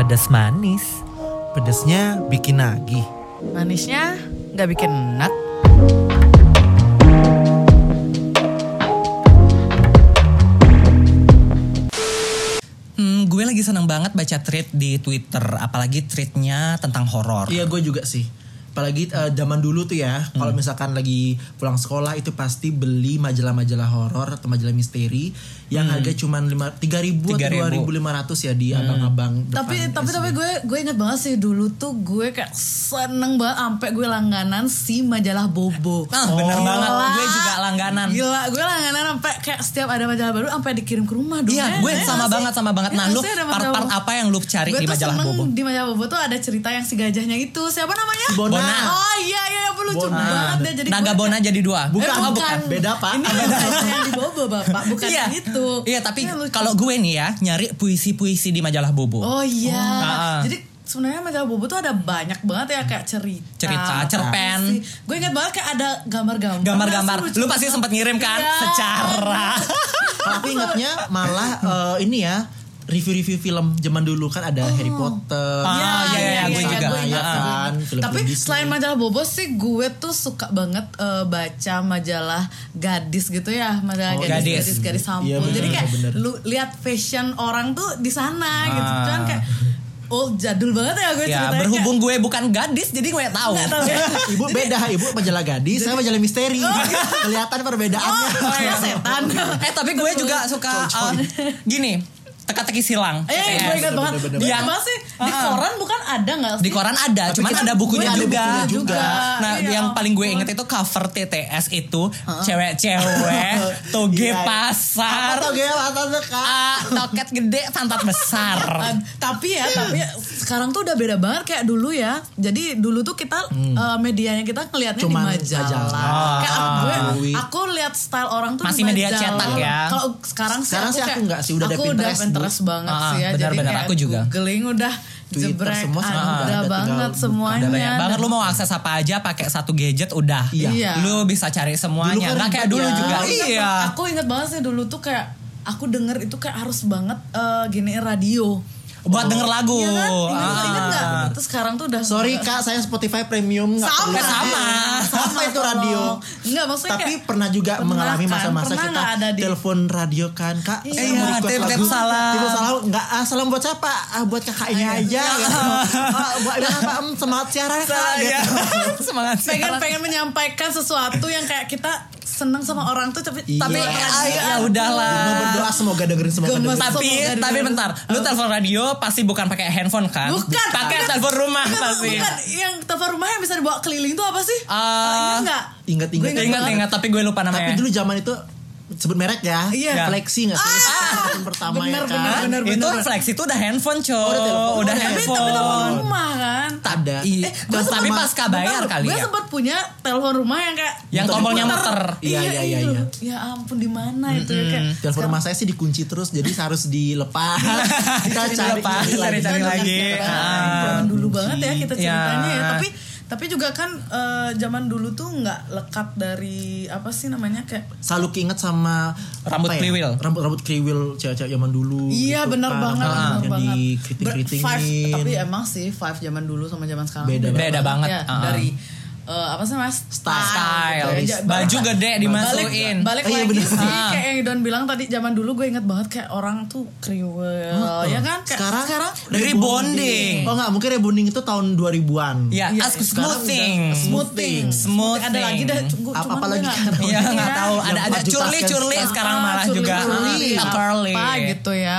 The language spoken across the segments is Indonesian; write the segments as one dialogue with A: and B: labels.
A: pedas manis.
B: Pedesnya bikin nagih.
C: Manisnya nggak bikin enak.
D: Hmm, gue lagi seneng banget baca tweet di Twitter, apalagi tweetnya tentang horor.
B: Iya gue juga sih. Apalagi eh, zaman dulu tuh ya, kalau misalkan lagi pulang sekolah itu pasti beli majalah-majalah horor atau majalah misteri yang harga cuma lima Hmm. tiga ribu atau dua
D: 3.000.
B: ribu lima ratus ya di abang-abang. depan
C: Tapi tapi
B: SD.
C: tapi gue gue inget banget sih dulu tuh gue kayak seneng banget sampai gue langganan si majalah Bobo.
D: Ah, bener
C: Gila.
D: banget. Gue juga langganan.
C: Gila, gue langganan sampai kayak setiap ada majalah baru sampai dikirim ke rumah Eh, dong.
D: Iya, gue sama banget sama banget.
C: eh, Iya,
D: Nah, lu part-part apa yang lu cari di majalah Bobo?
C: Di majalah Bobo tuh ada cerita yang si gajahnya itu. Siapa namanya?
B: Bona.
C: Oh iya iya ya, lucu
B: Bona.
C: banget dia jadi
D: Naga
C: gue-
D: Bona jadi dua.
B: Bukan,
C: Eh,
B: bukan. Beda, Pak.
C: Ini bukan yang di Bobo, Bapak. Bukan
D: Iya.
C: yang itu.
D: Iya, tapi
C: Ini lucu.
D: kalau gue nih ya nyari puisi-puisi di majalah Bobo.
C: Oh iya.
D: Ah.
C: Jadi sebenarnya majalah Bobo tuh ada banyak banget ya kayak cerita.
D: Cerita, cerpen.
C: puisi. Gue ingat banget kayak ada gambar-gambar.
D: Gambar-gambar.
C: Nah, lucu
D: Lu pasti
C: banget.
D: sempat ngirim kan
C: Iya.
D: secara.
B: Aku ingatnya malah eh, ini ya review-review film zaman dulu kan
C: Oh.
B: ada Harry Potter.
D: Ah, iya, iya,
B: Disney,
D: gue juga.
C: gue
B: ya
C: ingat,
B: kan,
C: gue ingat.
B: film-film
C: Tapi
B: Disney.
C: selain majalah Bobo sih gue tuh suka banget eh, baca majalah gadis gitu ya, majalah
B: Oh,
C: gadis,
D: gadis.
C: gadis gadis sampul.
B: Iya, bener,
C: Jadi kayak
B: bener.
C: lu lihat fashion orang tuh di sana gitu
D: Ah.
C: kan kayak old jadul banget ya gue
D: Ya,
C: ceritanya.
D: berhubung gue bukan gadis jadi gue tahu.
B: Eh, Ibu beda, ibu majalah gadis, saya majalah misteri. Kelihatan perbedaannya.
C: Oh, iya, setan.
D: eh, tapi gue juga suka uh, gini, teka-teki silang.
C: Eh, gue
D: TTS.
C: ingat banget.
B: Bener-bener.
C: Gue
D: Yang-
C: ingat banget sih. Di
D: Ah.
C: koran bukan ada nggak sih?
D: Di koran ada, cuman
C: kan
B: kita-
D: ada bukunya
B: ada
D: juga.
B: bukunya juga.
D: Nah,
C: Iya,
D: yang paling gue
C: ampun.
D: inget itu cover TTS itu cewek-cewek toge
C: ya.
B: Iya.
D: pasar,
B: Atau gaya atau dekat.
D: ah, toket gede, pantat besar.
C: Eh, tapi ya, tapi ya, sekarang tuh udah beda banget kayak dulu ya. Jadi dulu tuh kita eh, medianya kita ngelihatnya di
B: Cuman
C: majalah.
B: majalah.
C: Kayak gue,
B: Ui.
C: aku lihat style orang tuh
D: Masih
C: di
D: media
C: majalah.
D: cetak ya.
C: Kalau sekarang,
B: Sekarang sih
C: kayak-
B: aku nggak sih, udah ada
C: aku
B: Pinterest, Bu.
C: Pinterest banget
D: Ah,
C: sih ya. Jadi
D: benar-benar,
C: kayak
D: aku juga.
C: googling udah
B: Twitter
C: jebrek
B: semua sekarang udah
C: ada
B: ada,
C: banget
B: tinggal-
C: semuanya.
D: Udah banyak banget lu mau akses apa aja pakai satu gadget udah.
B: Iya.
C: Iya.
D: Lu bisa cari
B: Dulu
D: semuanya.
B: kan
D: Enggak kayak
B: ribet
D: dulu
B: ya.
D: juga.
C: Aku ingat
D: Iya.
C: banget- Aku inget banget sih dulu tuh kayak aku denger itu kayak harus banget eh, giniin radio.
D: Buat denger lagu.
C: Iya kan? Ingat,
D: Ah.
C: ingat nggak? Terus sekarang tuh udah
B: Sorry kak, saya Spotify premium. nggak
C: sama
B: perlu.
D: sama.
B: Sama itu radio.
C: Enggak maksudnya
B: Tapi
C: kayak-
B: pernah juga
C: pernah
B: mengalami
C: kan,
B: masa-masa
C: pernah
B: kita
C: nggak ada di-
B: telepon radio kan kak.
C: Iya.
B: saya
D: Iya,
B: mau request
D: titip
B: lagu.
D: salam.
B: Titip salam nggak ah, salam buat siapa? Ah, buat kakaknya aja.
C: Iya.
B: Ah, buat apa? Em, Semangat siaran kak.
D: Iya.
B: Gitu.
D: Semangat sih.
C: pengen pengen menyampaikan sesuatu yang kayak kita seneng sama orang tuh tapi
B: Iya.
C: tapi gitu.
D: Tapi
C: radio-
D: ya udahlah.
B: Cuma berdoa semoga dengerin semoga
C: Gemes.
B: dengerin.
D: tapi
C: Semoga dengerin.
D: tapi bentar, lu telepon radio pasti bukan pakai handphone kan?
C: bukan
D: Pakai
C: Ingat-
D: telepon rumah
C: ingat tuh,
D: pasti.
C: bukan yang telepon rumah yang bisa dibawa keliling tuh apa sih
D: Ah.
C: ingat nggak
B: Ingat, ingat,
C: Gue
D: Ingat
C: banget.
D: ingat tapi gue lupa
B: Tapi
D: namanya.
B: dulu zaman itu sebut merek ya.
C: Iya.
B: Flexi nggak sih? Tahun pertama
C: bener,
B: ya kan.
C: bener, bener.
D: itu flex itu udah handphone cow,
B: udah telepon.
D: udah
B: Tapi-
C: tapi tapi telepon
D: handphone.
C: rumah kan
B: Ada.
D: Iya,
C: gua sempet-
D: tapi pasca bayar
C: bentar,
D: kali
C: gue
D: ya.
C: sempet punya telepon rumah yang kayak
D: Yang tombolnya muter.
B: Iya, iya, iya,
C: itu.
B: iya.
C: ya ampun di mana itu ya kayak
B: Telepon rumah saya sih dikunci terus jadi harus dilepas. Kita cari
D: Dilepas, cari-cari lagi.
B: Ah.
C: Zaman dulu banget ya kita
D: Iya.
C: ceritanya ya. Tapi tapi juga kan eh, zaman dulu tuh nggak lekat dari apa sih namanya kayak
B: Selalu keinget sama
D: Rambut
B: apa ya?
D: kriwil.
B: Rambut rambut kriwil cewek-cewek zaman dulu.
C: Iya
B: gitu
C: benar
D: Ah,
B: kan.
C: banget,
B: Rambut
C: benar
B: yang
C: banget. Ber- five,
B: Dikritik-kritikin.
C: tapi emang sih five zaman dulu sama zaman sekarang
B: Beda
C: tuh
D: Beda banget,
C: Ya,
D: uh-uh.
C: dari eh, apa sih mas
B: Style.
D: Style.
C: gitu ya. Ja-
D: Baju
C: balik-
D: gede dimasukin.
C: Balik
B: Oh, iya,
C: lagi
B: benar.
C: sih
D: Ah.
C: kayak yang Don bilang tadi zaman dulu gue inget banget kayak orang tuh kriwel ya kan
B: sekarang
C: kayak
D: Rebonding.
B: Oh enggak, mungkin rebonding itu tahun 2000-an.
D: Ya,
C: Iya,
D: ask smoothing.
B: sekarang udah smooth.
C: smoothing.
D: Smoothing.
C: Ada lagi dah cu-
B: Apa-
C: cuman
B: apa
C: gue
B: lagi?
C: nggak ngerti
D: Iya
C: ya.
D: nggak tahu ada ada
B: Yang
D: curly curly
B: pajutaskan.
D: sekarang malah
C: Ah, Curly,
D: juga
C: curly,
D: Ah, curly
C: apa gitu ya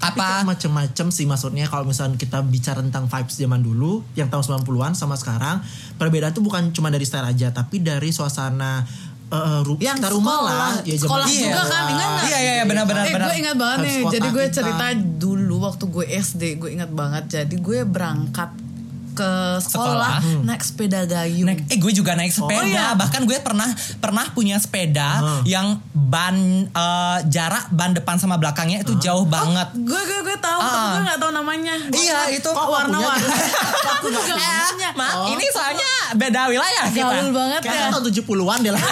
D: apa
B: Tapi macem-macem sih maksudnya kalau misalnya kita bicara tentang vibes zaman dulu yang tahun 90-an sama sekarang perbedaan tuh bukan cuma dari style aja tapi dari suasana eh, ru-
C: yang
B: sekitar
C: sekolah
B: rumah
D: Ah,
B: lah ya, zaman
C: sekolah
B: dulu.
C: juga kan ingat nggak
D: Iya, iya, iya, benar, benar,
C: eh,
D: benar.
C: gue ingat banget
B: Harus
C: nih
B: kotak
C: jadi gue
B: kita.
C: cerita dulu waktu gue SD gue ingat banget jadi gue berangkat ke sekolah, naik sepeda gayung.
D: Hmm. Naik, eh gue juga naik sepeda.
C: iya.
D: Bahkan gue pernah pernah punya sepeda yang ban eh, jarak ban depan sama belakangnya itu jauh banget.
C: Gue gue gue tahu, tapi
D: Ah.
C: gue gak tahu namanya.
D: Iya itu.
B: Kok
C: warna-warna.
B: punya?
C: Aku juga Oh. namanya.
D: Ma, ini soalnya beda wilayah kita.
C: Gaul banget ya.
B: Kayaknya tahun 70-an deh lah.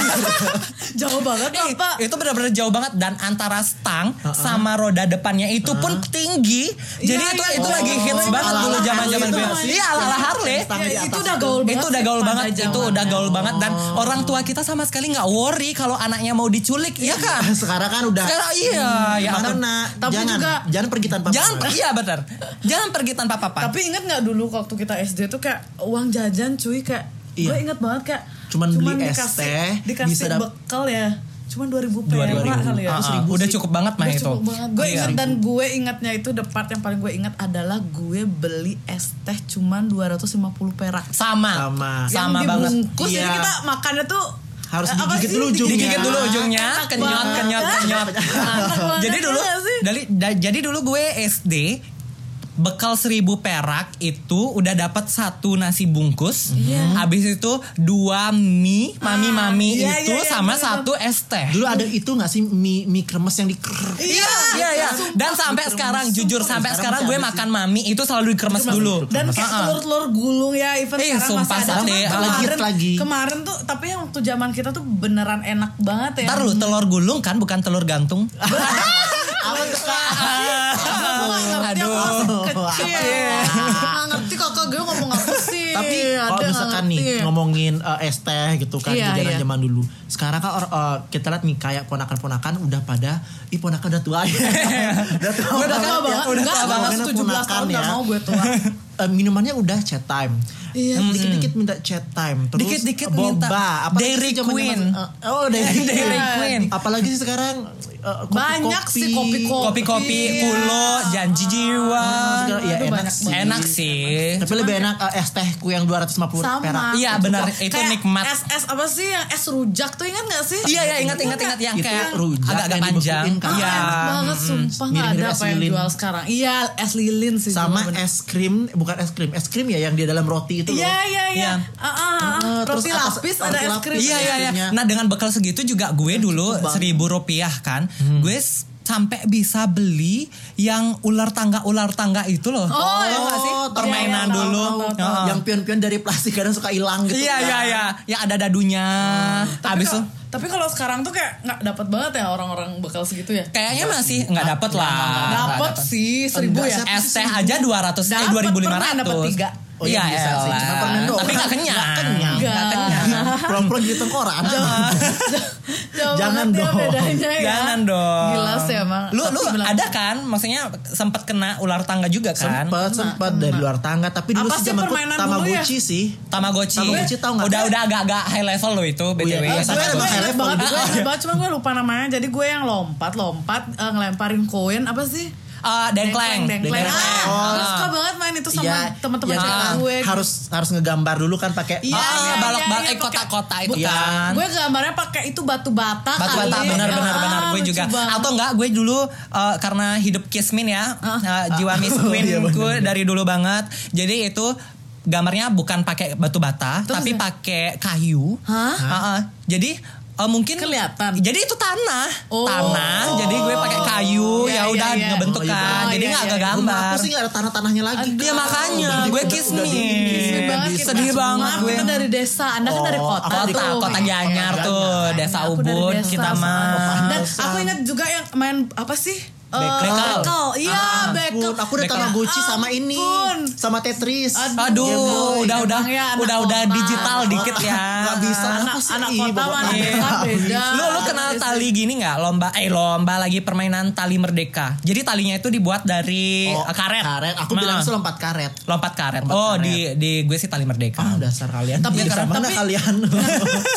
C: Jauh banget
D: Eh,
C: apa?
D: itu benar-benar jauh banget dan antara stang sama roda depannya itu pun tinggi. Jadi
C: Iya,
D: itu
C: iya.
D: itu
C: Oh.
D: lagi hits banget
B: Ala-ala
D: dulu
B: Harley
D: zaman-zaman
B: itu
D: gue.
B: namanya.
D: Iya, ala Harley.
B: Stang di
C: Iya, itu
B: atas
C: udah gaul banget.
D: itu udah gaul
C: sih,
D: banget
C: pada
D: itu
C: zamannya.
D: udah gaul banget dan orang tua kita sama sekali nggak worry kalau anaknya mau diculik ya kan
B: Sekarang kan udah
D: Sekarang iya ya
B: Makanya,
D: ampun.
B: nak,
C: Tapi
B: jangan,
C: juga-
B: jangan pergi tanpa
D: jangan
B: pasangan.
D: pergi iya benar jangan pergi tanpa papa
C: Tapi inget nggak dulu waktu kita SD tuh kayak uang jajan cuy kayak
B: Iya.
C: gue inget banget kayak
B: Cuman beli es
C: dikasih-
B: teh,
C: dikasih
B: bisa dap-
C: bekal ya. Cuman 2000
D: dua
C: perak
D: ribu Ah,
C: kali ya. Terus
D: udah cukup banget mah
B: Nah,
C: Udah
D: itu
C: cukup banget. Gue
D: Iya.
C: ingat dan gue ingatnya itu the part yang paling gue ingat adalah gue beli es teh cuman 250 perak.
D: sama
B: Sama.
D: sama
C: yang
D: banget
C: dibungkus jadi
B: Iya.
C: kita makannya tuh
B: Harus
C: eh, apa
B: digigit
C: sih?
B: dulu ujungnya.
D: digigit dulu ujungnya
C: Enak
D: kenyot
C: banget.
D: kenyot kenyot Nah,
C: banget,
D: jadi dulu
C: iya sih?
D: dari da- jadi dulu gue SD bekal seribu perak itu udah dapat satu nasi bungkus habis itu dua mie mami mami
C: iya,
D: itu
C: iya, iya,
D: sama
C: iya.
D: satu es teh
B: Dulu ada itu gak sih mie, mie kremes yang di krrrr.
D: Iya, iya, iya. Dan sampai sekarang jujur sampai sekarang gue makan mami itu selalu dikremes dulu.
C: dan kayak
D: Ah, ah.
C: telur-telur gulung ya even
D: Iya,
C: sekarang
D: sumpah,
C: masih ada
D: sate,
C: Cuman
D: legit
C: kemarin,
B: Eh, lagi.
C: kemarin tuh tapi yang waktu zaman kita tuh beneran enak banget ya
D: Ntar lu telur gulung kan bukan telur gantung.
B: Apa tuh Kak?
D: iya.
C: Gua nggak Ah, ngerti aku masih kecil Nggak ngerti kakak gue ngomong apa sih
B: Iya. Tapi kalau
C: Iya, Ada nggak
B: misalkan nih
C: ngerti.
B: ngomongin eh, es teh gitu kan
C: Iya,
B: jajanan
C: iya.
B: zaman dulu. Sekarang kan or- eh, kita lihat nih kayak ponakan-ponakan udah pada ih ponakan udah tua ya. udah tua
C: Gue
B: banget
C: udah tua
B: ya.
C: banget
B: Udah
C: Enggak,
B: tua banget
C: masih 17 tahun
B: ponakan
C: gak
B: ya.
C: mau gue tua
B: Eh, minumannya udah chat time.
C: Iya.
B: Hmm, Dikit-dikit minta chat time. Terus
D: Dikit-dikit
B: boba.
D: minta
B: Apalagi
D: Dairy
B: zaman-zaman,
D: Queen.
B: eh, oh Dairy Queen.
D: Dairy Queen.
B: Apalagi sih sekarang eh, kopi-kopi.
C: Banyak sih kopi-kopi.
D: Kopi-kopi,
C: Iya.
D: kulo, janji jiwa. Iya.
B: Sekarang, ya,
C: Aduh,
B: enak
C: banyak
B: sih.
D: Enak sih.
B: Tapi lebih enak eh, es tehku yang 250
C: Sama
B: perak.
D: Iya, benar. Itu
C: Kayak
D: nikmat.
C: Es, es apa sih yang es rujak tuh ingat gak sih?
D: Iya, iya, ingat ingat ingat yang
B: Itu
D: kayak
B: rujak
D: agak-agak
B: yang
D: panjang.
B: dibekuin kan.
D: Iya.
C: Ah, enak banget sumpah nggak
B: Mirip-mirip
C: ada
B: es
C: apa yang
B: lilin.
C: jual sekarang. Iya, es lilin sih.
B: sama
C: cuma bener.
B: es krim bukan es krim es krim ya yang di dalam roti itu
C: Iya, iya, iya.
D: Iya.
C: Ah, ah, ah.
B: Eh, terus
C: Roti
B: atas-
C: lapis
B: roti
C: ada es
B: lapis.
C: krim.
D: Iya, iya, iya.
B: Akhirnya.
D: Nah dengan bekal segitu juga gue dulu seribu rupiah kan. Gue s- sampai bisa beli yang ular tangga ular tangga itu loh.
C: Oh,
D: Tau nggak sih?
C: iya, iya,
D: Permainan
C: tahu,
D: dulu.
C: tahu, tahu,
D: Heeh.
B: loh. yang pion-pion dari plastik kadang suka hilang gitu
D: Iya iya iya, ya ada dadunya.
C: Tapi
D: Habis itu
C: kalau- Tapi kalau sekarang tuh kayak nggak dapat banget ya orang-orang bakal segitu ya.
D: kayaknya masih nggak dapet lah. Nggak
C: Dapat sih seribu
B: Enggak, siapa
C: ya.
D: Es teh aja 200 eh
C: Dapet,
D: 2500.
C: pernah dapet tiga.
B: Oh,
D: iya,
B: iya, bisa sih.
D: elah.
B: Cuma permen doang.
D: Tapi nggak kenyang.
B: Nggak kenyang.
D: Nggak kenyang.
B: pulang-pulang di tengkorak
C: Iya. Jauh
B: Jangan
C: banget ya
B: dong.
C: bedanya ya.
D: Jangan dong.
C: Gila sih emang.
D: Lu
C: Tapi
D: lu
C: bilang-
D: ada kan? Maksudnya sempet kena ular tangga juga kan?
B: sempat sempat dari luar tangga tapi dulu
C: Nah,
B: sih
C: Apa sih
B: zaman
C: permainan dulu ya?
B: tamagotchi sih
D: Tamagotchi.
B: Tamagotchi tau nggak?
D: Udah udah agak-agak high level lo itu BTW.
B: iya.
C: Gue
B: Sama
C: gue
B: sama high
C: inget
B: level
C: banget,
B: juga.
C: gue inget banget, cuman gue lupa namanya. Jadi gue yang lompat, lompat, eh, ngelemparin koin apa sih?
D: Eh, dengkleng.
C: dengkleng.
B: Dengkleng.
C: Ah,
B: Oh.
C: gue suka banget main itu sama
B: Iya,
C: teman-teman
B: iya,
C: cewek
B: kan.
C: gue.
B: harus harus ngegambar dulu kan pakai
C: Iya,
D: Ah,
C: iya,
D: balok-balok
C: iya,
D: eh,
C: iya,
D: kotak-kotak itu
B: Iya.
D: kan.
C: Gue gambarnya pakai itu batu bata.
D: Batu
C: kali.
D: bata benar benar
C: Ah,
D: benar gue
C: lucu
D: juga.
C: banget. Ah.
D: Atau enggak gue dulu eh, karena hidup kismin ya, eh, jiwa
B: Iya,
D: miskin
B: benar,
D: gue dari dulu banget. Jadi itu gambarnya bukan pakai batu bata tapi pakai kayu.
C: Hah?
D: Heeh. jadi eh, mungkin
C: Kelihatan.
D: Jadi itu tanah,
C: Oh.
D: tanah. Jadi gue pakai kayu,
C: Iya,
D: ya
C: iya,
D: udah
C: iya.
D: ngebentuk
B: Oh, iya,
D: kan.
C: benar.
D: Jadi
C: Oh,
D: nggak
C: iya,
D: ke
C: iya.
D: gambar.
B: aku sih nggak ada tanah-tanahnya lagi
D: Iya
B: Kak.
D: makanya
B: Udah
D: gue
B: di- udah gitu. di-
C: Sedih
D: kismin.
C: banget kita.
D: Sedih banget
C: Maaf,
D: gue.
C: kita dari desa, Anda kan dari
B: Oh,
C: kota.
B: aku dari
C: tuh. Iya, kan?
D: Kota, kota Gianyar
B: Gianyar.
D: tuh, desa
C: Aku dari
D: Ubud
C: desa,
D: kita
C: soalnya.
D: mah.
C: Dan aku ingat juga yang main apa sih? Eh,
D: Bekel. Ah,
C: bekel. Iya, bekel.
B: Ampun, Ah, aku udah
D: Bekel.
B: Tamagotchi
C: Ya
B: sama ini,
C: ampun.
B: sama Tetris.
D: Aduh,
C: Iya, Bu.
D: udah udah
C: Emang ya, anak
D: udah udah
C: kota.
D: digital dikit ya.
B: Nggak bisa.
C: Anak,
B: Apa sih?
C: anak
B: Ih,
C: kota
B: bapak
C: mana
B: tadi.
C: beda.
D: Iya. Lu lu
B: Iya
D: kenal tali gini nggak lomba eh lomba lagi permainan tali merdeka. Jadi talinya itu dibuat dari
B: Oh,
D: eh, karet.
B: Karet. Aku
D: Nah,
B: bilang itu lompat karet.
D: lompat karet.
B: Lompat
D: oh
B: karet.
D: di di gue sih tali merdeka.
B: Ah, dasar kalian.
C: Tapi-
B: Bisa
C: tapi-
B: mana kalian?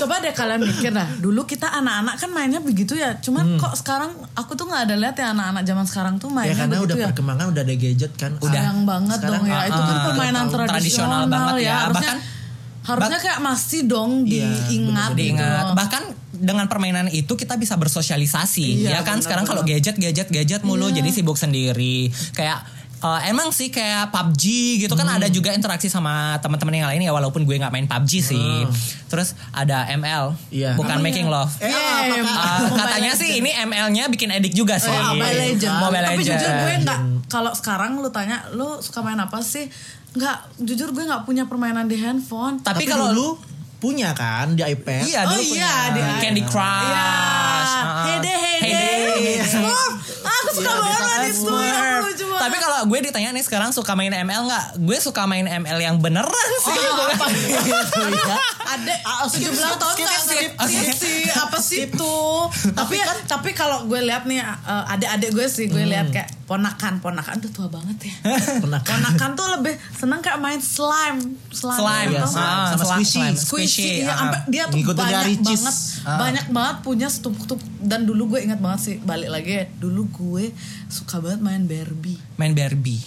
C: Coba deh kalian mikir dah, dulu kita anak-anak kan mainnya begitu ya. Cuman
D: Hmm.
C: kok sekarang aku tuh nggak ada lihat ya anak-anak zaman sekarang tuh
B: ya
C: mainnya
B: karena
C: begitu
B: udah
C: ya.
B: perkembangan udah ada gadget kan.
D: Udah.
C: Sayang banget
B: Sekarang,
C: dong ya. Itu kan
D: ah,
C: permainan
D: tradisional
C: tradisional,
D: banget
C: ya.
D: ya.
C: Harusnya,
D: Bahkan-
C: harusnya kayak masih dong
B: Iya,
C: diingat
B: bener-bener
C: gitu.
D: Diingat.
C: loh.
D: Bahkan dengan permainan itu kita bisa bersosialisasi.
C: Iya,
D: ya kan
C: benar,
B: Iya.
D: sekarang kalau gadget gadget gadget mulu jadi sibuk sendiri. Kayak eh, emang sih kayak PUBG gitu
B: Hmm.
D: kan ada juga interaksi sama teman-teman yang lain ya walaupun gue nggak main PUBG sih. Terus ada ML,
B: Hmm. Iya.
D: bukan
C: Namanya?
D: making love.
B: Eh,
C: Iya,
B: apa,
C: iya,
B: Kak?
D: Eh, katanya sih ini ML-nya bikin edik juga sih.
C: Oh, Mobile Legend.
D: Iya. Mobile
C: Tapi
D: Legend.
C: jujur gue nggak kalau sekarang lu tanya lu suka main apa sih? Nggak, jujur gue nggak punya permainan di handphone. Iya.
D: Tapi
B: Tapi
D: kalau
B: dulu punya kan di iPad.
D: Iya,
C: Oh
D: dulu
C: iya,
D: punya
C: di-
D: Candy Crush.
C: Iya.
D: Ah,
C: Hede
D: Heyday. Iya,
C: hede. Smurf. Aku suka banget ya
B: biasa
C: main Smurf. Lucu banget.
D: Tapi kalau gue ditanya nih sekarang suka main ML nggak? Gue suka main ML yang beneran sih.
C: Oh,
B: apa gitu ya.
C: iya, ada
B: Ah, skip,
C: 17 tahun
B: skip,
C: nggak
B: skip,
C: skip,
B: skip,
C: skip sih apa sih itu tapi tapi kalau gue lihat nih eh, adik-adik gue sih gue lihat kayak ponakan ponakan tuh tua banget ya
B: Ponakan.
C: ponakan tuh lebih seneng kayak main slime slime,
D: Slime,
C: tau
B: Iya,
C: nggak?
B: slime.
D: ah,
B: Sama
D: slime,
B: squishy.
D: slime,
C: squishy ya,
D: ah.
C: sampai dia tuh
B: Ngikutin
C: banyak
B: dari cheese.
C: banget banyak banget punya setumpuk-tumpuk dan dulu gue ingat banget sih balik lagi ya, dulu gue suka banget main Barbie
D: main Barbie.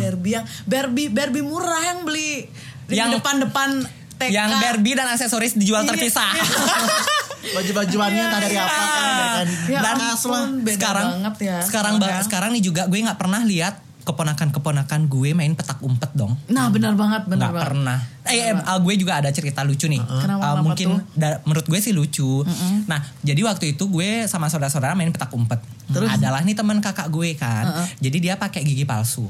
C: Barbie yang Barbie Barbie murah yang beli di
D: Yang-
C: depan-depan TK
D: Yang Barbie dan aksesoris dijual
C: Iya,
D: terpisah.
B: Baju-bajuannya entah dari apa kan dari kain
C: Ya
B: bekas
C: ampun,
B: lah.
C: beda banget ya.
D: Sekarang ba-
C: Ya.
D: sekarang nih juga gue nggak pernah lihat keponakan-keponakan gue main petak umpet dong.
C: Nah benar banget
D: nggak
C: benar banget.
D: pernah. Eh, eh, ah, gue juga ada cerita lucu nih.
C: Kenapa,
D: Ah,
C: kenapa
D: mungkin
C: tuh?
D: da- menurut gue sih lucu. Nah, jadi waktu itu gue sama saudara-saudara main petak umpet. Terus adalah nih teman kakak gue kan. Jadi dia pakai gigi palsu.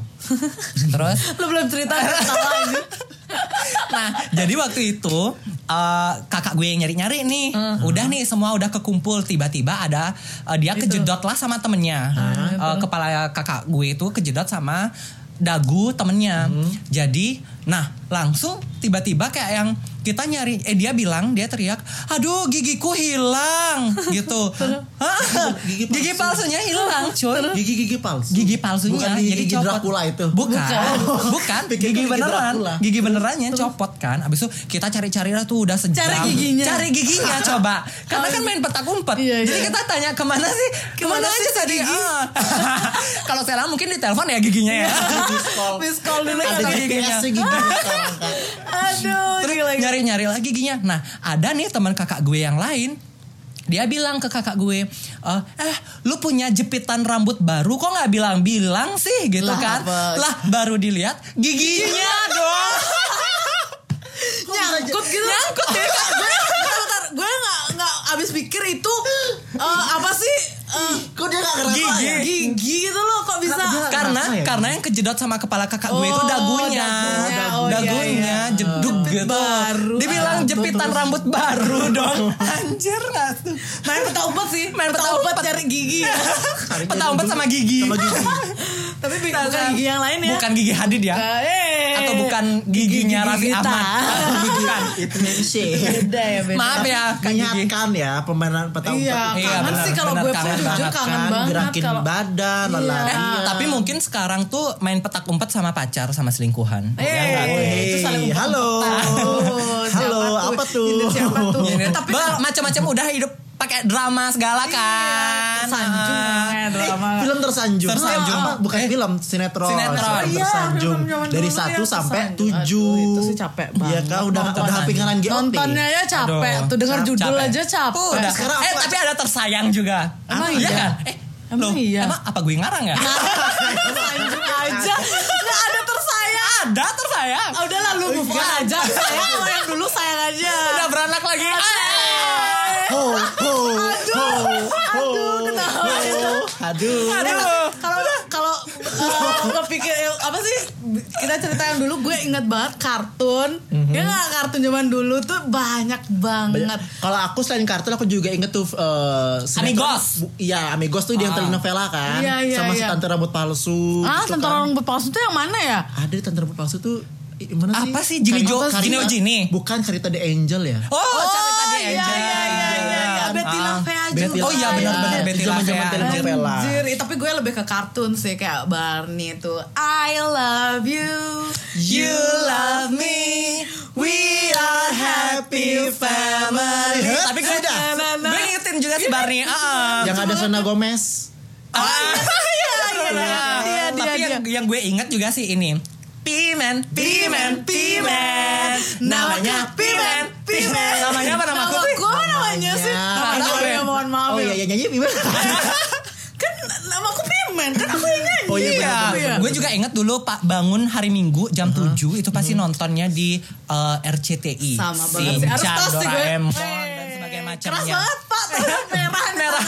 D: Terus
C: Lu belum cerita kan tahu aja.
D: nah jadi waktu itu eh, kakak gue yang nyari-nyari nih udah nih semua udah kekumpul tiba-tiba ada eh, dia kejedot lah sama temennya Eh, kepala kakak gue itu kejedot sama dagu temennya jadi nah langsung tiba-tiba kayak yang kita nyari eh dia bilang dia teriak aduh gigiku hilang gitu Hah?
B: Gigi
D: gigi,
B: palsu.
D: palsunya hilang cuy
B: Gigi-gigi palsu.
D: gigi palsunya
C: ya,
B: Bukan
D: jadi
B: gigi
D: copot.
B: Dracula itu.
D: bukan
C: Bukan.
D: bukan
B: Pikir
D: gigi
B: gigi
D: beneran
B: Dracula.
D: gigi benerannya copot kan abis itu kita cari cari lah tuh udah sejam
C: Cari giginya.
D: cari giginya coba karena kan main petak umpet
C: Iya, iya.
D: jadi kita tanya kemana sih kemana,
C: Kemana
D: aja
C: sih
D: tadi Ah. kalau sekarang mungkin ditelepon ya giginya ya
C: Iya. Miss call dulu
D: Ada
C: kata-
B: Ada
D: giginya.
B: GPS-nya giginya sekarang kan.
C: Aduh,
D: Terus
C: gila.
D: nyari-nyari lagi giginya. Nah, ada nih teman kakak gue yang lain. Dia bilang ke kakak gue, "Eh, eh, lu punya jepitan rambut baru kok nggak bilang-bilang sih?" gitu
C: Lah,
D: kan.
C: apa? Iya,
D: Lah, baru dilihat giginya dong.
C: nyangkut gitu. Nyangkut ya. Gue bentar, bentar. gue nggak nggak abis pikir itu eh, apa sih eh,
B: Kok dia gak ngerasa
D: Gigi.
B: ya?
C: gigi gitu loh kok bisa
B: Kenapa dia-
D: karena
B: Kenapa ya?
D: karena yang kejedot sama kepala kakak gue itu
C: Oh,
D: dagunya.
C: dagunya. Oh,
D: dagunya
C: iya, iya.
D: jeduk
C: Jepit
D: gitu.
C: baru.
D: Dibilang
C: Ah,
D: jepitan
C: terus.
D: rambut baru dong. Anjir nggak tuh.
C: main petak umpet sih main petak umpet cari gigi ya.
D: Peta umpet sama gigi.
B: Sama gigi.
C: tapi bukan gigi yang lain ya
D: kan. Bukan gigi Hadid ya.
C: Eh, eh.
D: atau bukan giginya Raffi
C: Gigi kita.
D: Ahmad bukan
B: Itu memang
C: beda ya beda
D: maaf ya Kak Gigi
B: Mengingatkan ya pemainan petak
C: Iya,
B: umpet.
D: Iya,
C: kangen
D: benar,
C: sih kalau
D: benar,
C: gue pun
D: kangen
C: jujur
D: banget
C: kangen
B: kan,
C: banget
B: gerakin
C: kalau
B: badan,
C: Iya.
B: lelah.
D: Eh, tapi mungkin sekarang tuh main petak umpet sama pacar sama selingkuhan
C: Eh, itu
B: Hey,
C: saling
B: halo.
C: Tuh, siapa
B: Halo,
C: tuh?
B: apa tuh?
C: Nyindir siapa tuh?
D: Ini-
C: Iya, Tapi
D: Iya. Bah,
C: kalau- Iya,
D: macam-macam udah hidup pakai drama segala kan
C: Sanjung
D: Ah.
C: namanya,
B: Eh,
C: drama.
B: film tersanjung.
D: Tersanjung.
B: Apa? bukan film, sinetron.
D: Sinetron.
B: Film
D: Oh,
C: Eh, iya,
B: tersanjung.
C: film zaman
B: Dari
C: dulu
B: satu
C: yang
B: sampai
C: tersanjung.
B: tujuh.
C: Aduh, itu sih capek
B: Iya
C: banget.
B: kau udah
D: Nonton
B: udah
D: aja.
B: pingaran GOT.
C: nontonnya ya capek
D: Aduh,
C: tuh dengar
D: cap-
C: judul
D: capek.
C: aja capek
D: Udah.
B: Sekarang
D: eh
B: apa?
D: tapi ada tersayang juga
C: Emang
D: iya
C: iya?
D: kan eh
C: Emang
D: loh,
C: iya?
D: emang apa gue ngarang ya
C: Sanjung aja nggak ada tersayang
D: ada tersayang
C: ah, udah lalu move on aja sayang sama yang dulu sayang aja
D: udah beranak lagi Ah.
B: Ho ho ho ho.
C: aduh kenapa
B: ho. Aduh.
C: Aduh, kalau kalau eh, kepikir eh, apa sih kita cerita yang dulu gue inget banget kartun ya nggak kartun zaman dulu tuh banyak banget
B: Kalau aku selain kartun aku juga inget tuh eh, sinetron.
D: Amigos. Ah.
B: Bu- Iya, Amigos tuh dia yang telenovela kan.
C: Iya, iya,
B: Sama si
C: iya.
B: tante rambut palsu.
C: ah
B: gitu
C: tentara
B: kan.
C: orang palsu tuh yang mana ya
B: Ada tante rambut palsu tuh i- mana sih?
D: Apa sih? Jini Jo-
B: Cerita-
D: Jini Ojini?
B: Bukan cerita The Angel ya.
D: Oh, cerita tadi
C: iya,
D: aja.
C: iya, iya, iya, iya. Betty La Fea
B: Betty
C: juga
B: La
D: Oh iya
B: Fea.
D: benar-benar
B: Itu
D: Betty La
B: zaman-zaman
D: Fea.
B: telenovela.
C: Anjir, eh, tapi gue lebih ke kartun sih kayak Barney tuh I love you.
D: You love me, we are happy family.
B: Hah?
D: Tapi gue
B: Sudah.
D: gue ngingetin juga si Barney. Ah,
B: Yang ada Selena Gomez.
D: Ah,
C: iya, iya, iya, dia,
D: Tapi
C: dia.
D: yang yang gue ingat juga sih ini. Pimen, Pimen, Pimen. Namanya Pimen, Pimen. Namanya apa nama aku sih?
C: Gue namanya sih.
B: Ya.
C: Aduh,
D: Namanya.
C: ya, mohon maaf
B: Oh
C: ya.
B: iya, iya nyanyi gimana?
C: Kan nama aku Pimen kan aku yang nyanyi.
B: Oh, iya,
D: Iya,
C: Iya.
D: gue juga inget dulu Pak bangun hari Minggu jam 7 itu pasti nontonnya di eh, RCTI.
C: Sama banget sih. Harus
D: Shinchan,
C: tos sih gue.
D: Doraemon dan
C: Weh.
D: sebagainya
C: Keras
D: macamnya.
C: banget pak. Tangan Merah. Iya Merah.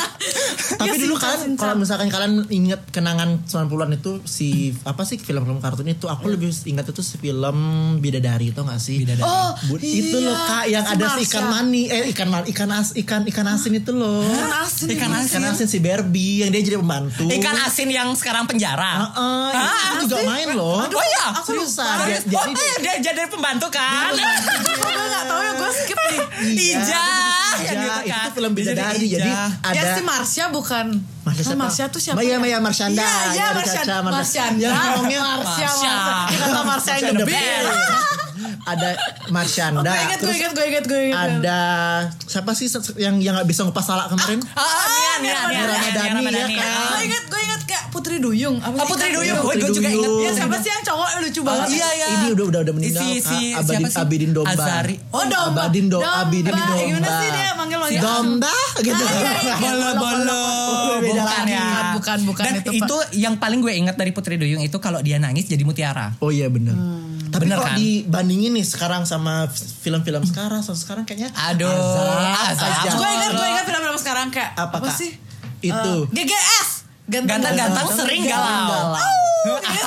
B: Tapi dulu kan, kalian kalau misalkan kalian inget kenangan 90-an itu si apa sih film-film kartun itu
C: Iya.
B: aku lebih ingat itu si film Bidadari itu gak sih? Bidadari.
C: Oh,
B: itu
C: iya.
B: loh Kak yang
C: Si
B: ada si
C: Marsha.
B: ikan mani eh ikan mani, ikan as ikan ikan asin itu loh.
C: Ikan asin.
D: Ikan
B: Ikan asin si Barbie yang dia jadi pembantu.
D: Ikan asin yang sekarang penjara.
B: Heeh,
D: Ah,
B: itu kan juga main loh.
D: Oh iya,
B: Aku seriusan.
D: Serius?
B: Dia- Jadi
C: eh.
D: oh, iya, dia jadi pembantu kan?
C: Gue gak tau ya gue skip nih.
B: Iya.
D: Ija,
B: Ija,
D: yang gitu
B: itu
D: kan.
B: tuh film
D: Dia
B: Bidadari. Jadi
D: Ija.
B: ada
C: Ya si Marsha bukan.
B: Marsha
C: Kan
B: siapa?
C: Marsha tuh siapa?
B: Iya,
C: ya?
B: iya, Marsyanda.
C: Iya, iya
B: Yang ada Ya,
C: Marsyanda.
B: kaca, Marsyanda.
C: Marsyanda.
B: Yang
C: Marsha.
B: ngomongnya
C: Marsha.
D: Marsha.
C: Marsha. Kata Marsha yang the best. Oh,
B: ada Marsyanda.
C: Gue inget, gue
B: Terus
C: inget, gue inget, gue inget.
B: ada siapa sih se- yang yang nggak bisa ngupas salak kemarin?
D: Ah, Nia, Nia, Nia, Nia,
B: Ramadhani,
D: Nia,
B: ya
D: Nia.
B: kan?
C: Gue inget, gue inget kayak Putri Duyung. Apa
D: Ah,
C: sih?
D: Putri
C: Ikan
D: Duyung,
B: Putri
D: gue juga
B: Duyung.
D: ingat.
C: Iya
D: Iya,
C: siapa sih yang cowok lucu banget?
D: iya, iya.
B: Ini udah udah udah meninggal.
D: Si-
B: Kak.
D: si-
B: Abadin,
D: siapa sih?
B: Abidin Domba.
D: Azari.
C: Oh, domba.
B: Abadin Do-
C: Domba.
B: Abidin
C: Gimana
B: Domba.
C: sih dia manggil lo?
B: Si
C: Ya.
B: Domba gitu.
D: iya. Bolo bolo
B: Beda
D: bukan
B: lagi.
D: ya
C: Bukan, bukan
D: dan
C: itu,
D: itu,
C: Pak.
D: yang paling gue ingat dari Putri Duyung itu kalau dia nangis jadi mutiara
B: Oh iya bener. Tapi
D: Bener
B: kalau
D: kan?
B: dibandingin nih sekarang sama film-film sekarang, sama sekarang kayaknya
D: Aduh, azab.
B: azab, azab.
C: Gue inget, gue inget film-film sekarang kayak.
B: Apa,
C: Apa
B: Kak?
C: sih?
B: Itu.
C: Eh, GGS.
D: gantang-gantang
B: Ganteng,
D: sering
B: ganteng,
D: galau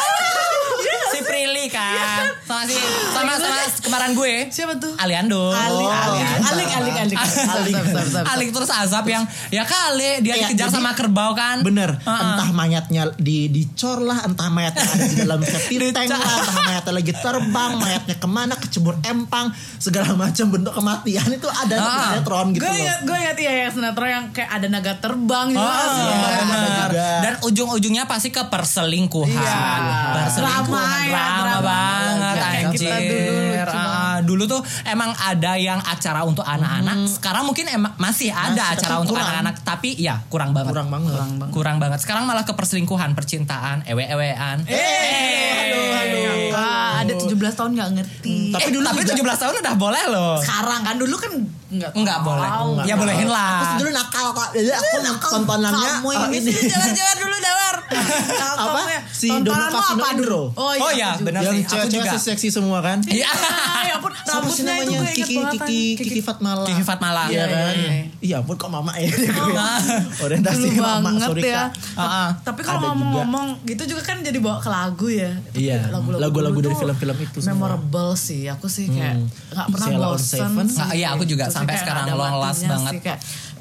D: si Prilly kan sama si sama sama kemarin gue
C: Siapa tuh?
D: Aliando
C: Alik,
B: Ali.
D: Aliando.
C: Alik, Alik,
B: Alik.
C: Alik. Sabar, sabar, sabar.
D: Alik terus azab yang ya kali dia
B: Iya,
D: dikejar
B: jadi-
D: sama kerbau kan
B: Bener,
D: Heeh.
B: entah mayatnya di dicor lah, entah mayatnya ada di dalam septic tank lah, entah mayatnya lagi terbang, mayatnya kemana, kecebur empang, segala macam bentuk kematian itu ada di
D: Ah.
B: sinetron gitu
C: Gue
B: loh.
C: inget, gue inget iya yang sinetron yang kayak ada naga terbang gitu.
D: Oh,
C: Asli
D: iya,
C: banget.
B: ada
D: bener.
B: juga.
D: Dan ujung-ujungnya pasti ke perselingkuhan.
C: Iya. Drama
D: Perselingkuhan
C: ya,
D: drama,
C: drama.
D: banget
C: Nggak kayak kita dulu,
D: anjir.
C: lucu
D: Ah, dulu tuh emang ada yang acara untuk anak-anak. Sekarang mungkin emang masih
B: Hmm. Masih,
D: ada acara
B: tapi
D: untuk
B: kurang.
D: anak-anak, tapi ya kurang banget.
B: Kurang banget.
D: Kurang banget. Kurang banget. Sekarang malah ke perselingkuhan, percintaan, ewe-ewean.
B: halo, halo.
D: iya.
C: Kak, ada 17 tahun gak ngerti.
D: Tapi
B: Tapi
D: dulu
B: dulu
D: Eh, tapi
B: juga-
D: 17 tahun udah boleh loh.
C: Sekarang kan dulu kan enggak
D: Enggak boleh.
B: enggak
D: ya
B: tahu.
D: bolehin
B: Aku
D: lah.
B: dulu nakal kok, jadi aku tontonannya
C: kamu
B: oh,
C: eh, ini
B: ini.
C: sih jalan-jalan dulu dawar. Kalau
B: Apa?
C: kamu ya,
B: Si
C: tontonan
B: Dono
C: lu
B: Casino
C: apa?
B: Indro.
C: Oh iya.
D: Oh iya,
C: aku juga.
D: benar
B: Yang
D: sih. Aku
B: cewek-cewek
D: juga.
B: seksi semua kan?
D: Iya.
C: Ay, ampun,
B: Siapa sih
C: rambutnya itu
B: namanya?
C: gue ingat
B: Kiki,
C: banget.
B: Kiki, Kiki Fatmala.
D: Kiki Fatmala.
B: Iya
C: Iya,
B: kan?
C: iya, iya.
B: Iya ampun kok mama ya.
D: Ah.
B: Orientasi
C: Dulu
B: ke mama,
C: banget
B: sorry
C: ya.
B: kak.
D: Ah, ah.
C: Tapi
B: Ada
C: kalau
B: juga.
C: ngomong-ngomong gitu juga kan jadi bawa ke lagu ya. Tapi
B: Iya, lagu-lagu
C: dulu
B: dari
C: tuh
B: film-film itu semua.
C: Memorable sih. Aku sih kayak nggak pernah
B: Sheila on
C: bosen.
B: Seven.
C: sih
D: Nggak, iya, aku
C: kayak
D: juga
C: gitu sih,
D: sampai
C: kayak
D: sekarang
C: ada
D: long last
C: matinya
D: banget.
C: sih, kayak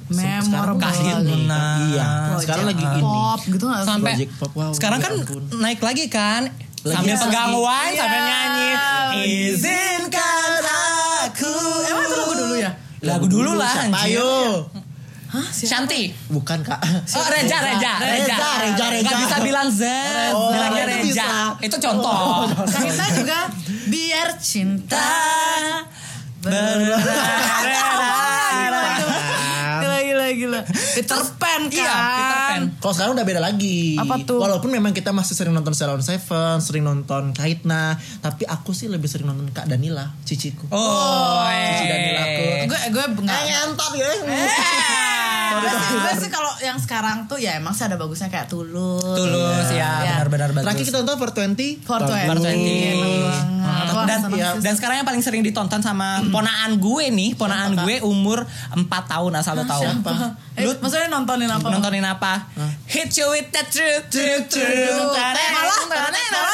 B: Sekarang
C: memorable.
B: kayak
D: Kahitna.
B: gini, Kak. Iya.
C: Project
B: Sekarang lagi ini.
C: Pop gitu nggak sih?
D: sampai
B: Project Pop, wow,
D: sekarang
B: ya
D: kan
B: ampun.
D: naik lagi kan sambil
B: Iya.
D: pegang wine
C: Iya.
D: sambil nyanyi izinkan aku Eh,
C: Emang itu lagu dulu ya?
D: lagu dulu lah
B: Siapa
D: anjir.
B: ayo?
C: Hah? siapa?
D: Shanti
B: Bukan kak.
D: Oh, Reja, Reja, Reja,
B: Reja, Reja, Reja.
D: Gak bisa bilang Z,
B: Oh,
D: bilangnya
B: itu
D: Reja.
B: bisa. Oh,
D: Itu contoh. Kan
C: Kahitna juga biar cinta gila gila gila Peter Pan kan
D: Iya, Peter Pan.
B: Kalau sekarang udah beda lagi.
C: Apa tuh?
B: Walaupun memang kita masih sering nonton Sheila on Seven, sering nonton Kaitna, tapi aku sih lebih sering nonton Kak Danila, ciciku.
D: Oh,
B: Cici Danila aku.
D: eh.
C: gue gue nggak
B: Eh, entar ya.
C: Gue sih- gue sih kalau yang sekarang tuh ya emang sih ada bagusnya kayak tulus
D: Tulus
C: Iya.
D: ya, benar-benar bagus.
B: Terakhir kita nonton 420.
C: for
B: Bagus.
D: dan dan sekarang yang paling sering ditonton sama ponaan gue nih, ponaan gue umur 4 tahun asal lo tahu.
C: eh,
D: Lu
C: maksudnya nontonin apa
D: nontonin apa? Hit you with the truth, truth, truth.
C: Eh, malah jujur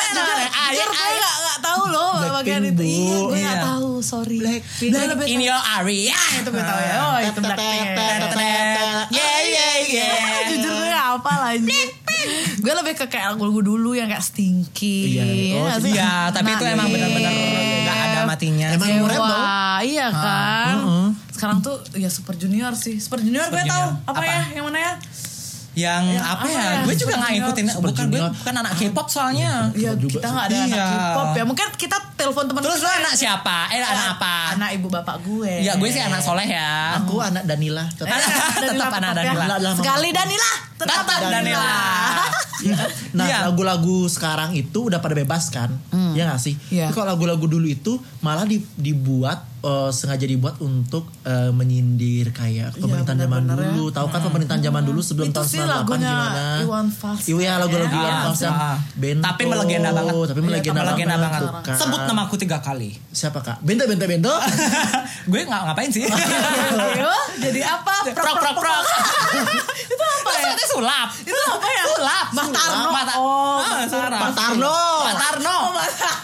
C: gue gak, gak tahu loh bagian
B: Blackpink,
C: itu
B: Bu.
C: iya gue
D: Iya.
C: gak tahu sorry
B: Blackpink.
C: Dah, lebih
D: In
C: tahu.
D: your area.
C: itu gue tahu ya oh itu Blackpink
D: Yeah, yeah, yeah.
C: jujur gue gak apa lagi gue lebih ke kayak lagu-lagu dulu yang kayak stinky
B: Iya,
C: ya
B: oh,
C: nggak sih? Nah,
D: Iya, tapi itu emang
C: Naif,
D: benar-benar nggak ada matinya.
B: Emang
C: Dewa,
B: murah tau.
D: Ah,
C: iya kan sekarang tuh ya super junior sih super junior gue
D: uh-uh. Super
C: tahu
D: Junior.
C: apa,
D: Apa?
C: ya yang mana ya
D: yang
C: Yang
D: apa
C: apa
D: ya?
C: ya?
D: Gue juga
C: Super
D: nggak
C: Junior.
D: ngikutin.
B: Super
D: Bukan gue
B: Junior.
D: bukan anak K-pop soalnya.
C: Iya
B: juga
C: kita
B: sih.
C: nggak ada anak
D: Iya.
C: K-pop ya mungkin kita telepon teman
D: Terus lo
C: kita.
D: anak siapa? Eh anak apa?
C: anak ibu bapak gue
D: Ya gue sih anak soleh ya.
B: Aku anak Danila.
D: Tetap anak
C: Danila,
D: Danila.
C: tetap ya.
B: Danila.
C: sekali Danila
D: Tetap
C: tetap
D: Danila.
B: Iya kan? Nah
D: Iya.
B: lagu-lagu sekarang itu udah pada bebas kan, ya nggak sih?
C: Iya.
B: Tapi Kalau lagu-lagu dulu itu malah di- dibuat eh, sengaja dibuat untuk eh, menyindir kayak pemerintahan zaman
C: benar-benar ya.
B: dulu. Tahu kan pemerintahan zaman dulu sebelum
C: Itu
B: tahun
C: sih
B: 98
C: lagunya
B: gimana?
C: Iwan Fals.
B: Iya lagu-lagu
D: Ah,
B: Iwan Fals yang
D: ah.
B: bento,
D: Tapi melegenda banget. Iya,
B: Tapi melegenda,
D: Melegenda banget.
B: tuh kan.
D: Sebut nama aku tiga kali.
B: siapa kak? Bento, bento, bento.
D: gue nggak ngapain sih.
C: Ayo, jadi apa?
D: prok prok prok. itu apa ya? Maksudnya sulap. Itu apa ya? Sulap.
C: Tarno.
D: Mata.
C: Oh,
D: Ah, sulap.
B: Pak Tarno.
D: Pak Tarno.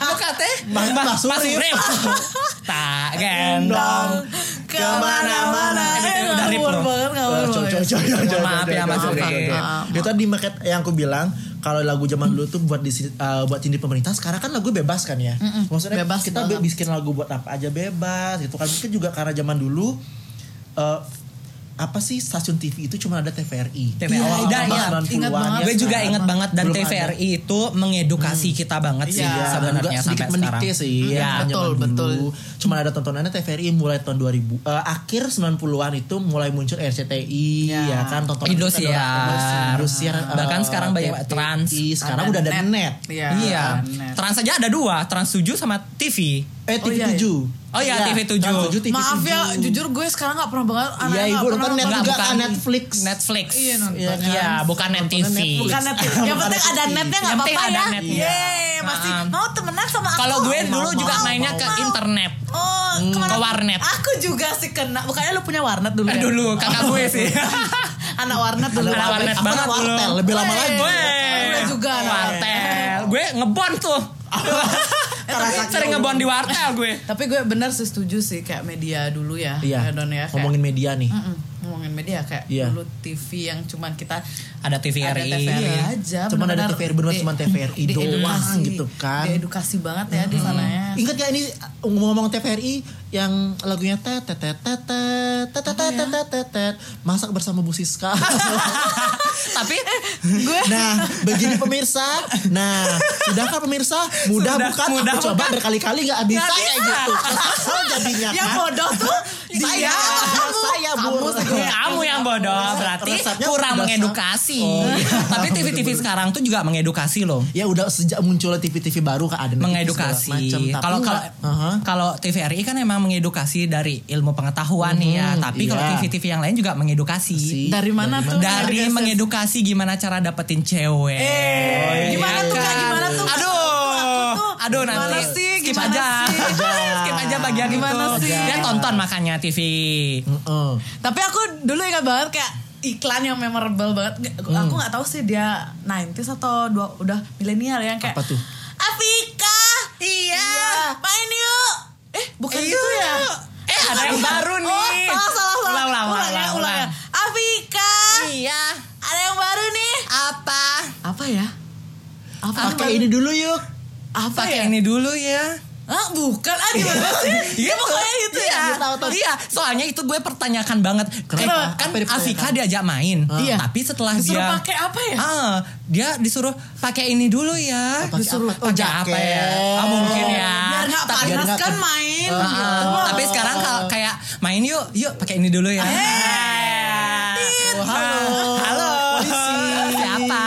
D: Lu kate?
B: Mas-
D: Mas-
B: Mas Surip.
D: Mas Surip. Tak gendong.
C: Kemana-mana.
D: Aduh,
C: Eh,
D: udah rip
C: ngawur
D: loh.
C: banget, ngawur
B: Eh, Coy, coy,
C: banget.
B: coy, coy, coy,
D: Maaf
B: coy,
D: ya,
B: coy,
D: Mas
B: coy,
D: Uri.
B: coy, coy.
C: Maaf.
B: Itu tadi makanya yang aku bilang kalau lagu zaman dulu tuh buat di eh, buat cindir pemerintah sekarang kan lagu bebas kan ya. Maksudnya
C: bebas
B: kita be-
C: banget.
B: bikin lagu buat apa aja bebas gitu kan. Mungkin juga karena zaman dulu eh, apa sih stasiun TV itu cuma ada TVRI.
D: TVRI. Awal-awal
B: Iya, iya,
D: banget.
B: iya.
C: Ingat banget.
D: Gue juga
C: Sama.
D: ingat banget dan
B: Belum ada.
D: TVRI itu mengedukasi kita banget sih
C: Iya.
B: Nggak
D: sebenarnya
B: sedikit
D: sampai sekarang.
B: mendikte sih
D: Iya.
B: ya,
C: betul,
B: zaman
C: betul.
B: dulu. Cuman ada tontonannya TVRI mulai tahun 2000 eh, akhir 90-an itu mulai muncul RCTI
C: Ya.
B: ya kan tontonan
D: Indosiar.
B: Indosiar eh,
D: Bahkan sekarang banyak
B: TVRI.
D: trans.
B: sekarang
C: Ada
B: udah ada
C: net.
B: net.
C: Iya.
D: Iya. Trans aja ada dua, Trans 7 sama TV.
B: Eh
C: Oh, iya,
B: TV7.
D: Oh, iya, TV7.
B: Trans 7, TV7.
C: Maaf ya, jujur gue sekarang gak pernah banget. anak
B: Iya,
C: nggak
B: Ibu,
C: pernah
B: nonton net
C: banget.
B: juga kan Netflix.
D: Netflix.
C: Iya, nonton.
D: Iya, bukan net TV.
C: Bukan net, yang penting ada netnya nggak
D: Yang penting
C: apa-apa
D: ada
C: ya.
D: netnya.
C: Yeay, pasti
D: Nah.
C: mau temenan sama aku.
D: Kalau gue
C: Mau,
D: dulu
C: mau,
D: juga
C: mau,
D: mainnya
C: mau,
D: ke
C: mau.
D: internet.
C: Oh, kemana?
D: ke warnet.
C: Aku juga sih kena. Bukannya lu punya warnet dulu
D: Eh,
C: ya?
D: Dulu kakak gue sih.
C: Anak warnet dulu.
D: Anak warnet
B: Aku
D: banget
B: kan
D: dulu.
B: wartel, lebih lama
C: Weh.
B: lagi.
D: Weh.
C: Gue juga anak
D: wartel. Gue ngebon tuh. Sering ngebon di
C: gitu.
D: wartel gue.
C: Tapi gue benar sih setuju sih kayak media dulu ya.
B: Iya.
C: ya, Don ya. kayak-
B: Ngomongin media nih.
C: Mm-mm, ngomongin media kayak
B: Iya.
C: dulu TV yang cuman kita
D: Ada TVRI.
C: ada TVRI
D: Iya.
C: aja.
B: Cuman ada
C: benar-benar
B: TVRI, benar
C: di-
B: cuman TVRI
C: di
B: doang
C: edukasi.
B: gitu kan.
C: Di edukasi banget ya di sana ya.
B: Ingat gak ini ngomong-ngomong TVRI yang lagunya tet tet tet tet tet tet tet tet tet tet masak bersama Bu Siska.
D: Tapi
C: Gue
B: Nah, begini pemirsa. Nah, sudah kan pemirsa? Mudah
D: Sudah,
B: bukan?
D: mudah
B: Aku coba
D: bukan. Ya,
B: berkali-kali nggak bisa
C: Nggak
B: kayak
C: bisa.
B: gitu. Kesel jadinya
C: yang
B: kan.
C: bodoh tuh
B: Saya,
C: dia
B: saya Ya,
C: Kamu
B: bu.
C: sih, gue.
D: Ya, kamu yang bodoh berarti
B: Resepnya
D: kurang
B: udah
D: mengedukasi.
B: sama. Oh, iya.
D: Tapi TV-TV sekarang tuh juga mengedukasi loh.
B: Ya udah sejak munculnya TV-TV baru kan ada Netflix, segala
D: mengedukasi.
B: macam. Tapi
D: Kalau kalau
B: nggak- Aha.
D: kalau TVRI kan emang mengedukasi dari ilmu pengetahuan nih ya. Tapi kalau
B: iya.
D: TV-TV yang lain juga mengedukasi.
B: Si.
C: Dari mana tuh?
D: Dari mengedukasi gimana cara dapetin cewek.
C: Eh, gimana
D: Iya
C: tuh Kak? Gimana tuh?
D: Aduh.
C: Aku tuh,
D: Aduh
C: gimana
D: nanti
C: sih?
D: skip
C: Gimana
D: aja.
C: sih?
D: skip aja bagian
C: Gimana
D: itu.
C: sih?
D: Dia tonton makanya TV.
B: Heeh.
C: Tapi aku dulu ingat banget kayak iklan yang memorable banget. Nggak, Aku
B: Mm.
C: nggak tahu sih dia 90s atau dua, udah milenial ya, yang kayak
B: Apa tuh?
C: Afika. Iya. Main yuk. Eh, bukan
D: Iya.
C: gitu ya.
D: Eh, ada yang baru nih.
C: Oh, salah, salah, salah.
D: Ulang, ulang,
C: Ulang,
D: ulang,
C: ya,
D: ulang,
C: ulang ya.
D: ulang.
C: Afika.
D: Iya.
C: Ada yang baru nih.
D: Apa?
C: Apa ya? Apa?
D: Kan
B: Pakai ini dulu yuk.
C: Apa ya?
D: Pakai ini dulu ya.
C: Ah, bukan. Ah, gimana sih?
D: Iya pokoknya itu
C: gitu ya.
D: ya. Iya, soalnya itu gue pertanyakan banget. Kenapa? kan
B: Apa yang dipertanyakan?
D: Afika diajak main.
C: Iya.
D: Tapi setelah
C: Disuruh
D: dia
C: pakai apa ya?
D: Ah, dia disuruh pakai ini dulu ya.
B: Pakai
D: disuruh
B: apa? Oh,
D: pakai apa ya?
B: jaket.
D: Ah, mungkin ya.
C: Biar nggak
D: Tapi-
B: biar
C: panas
B: nggak
C: kan
B: ke-
C: main.
D: Ah,
C: gitu.
D: tapi sekarang
B: ah,
D: kalau kayak main yuk, yuk pakai ini dulu ya.
B: Eh.
D: Iya.
B: Oh, halo.
D: Halo. Siapa?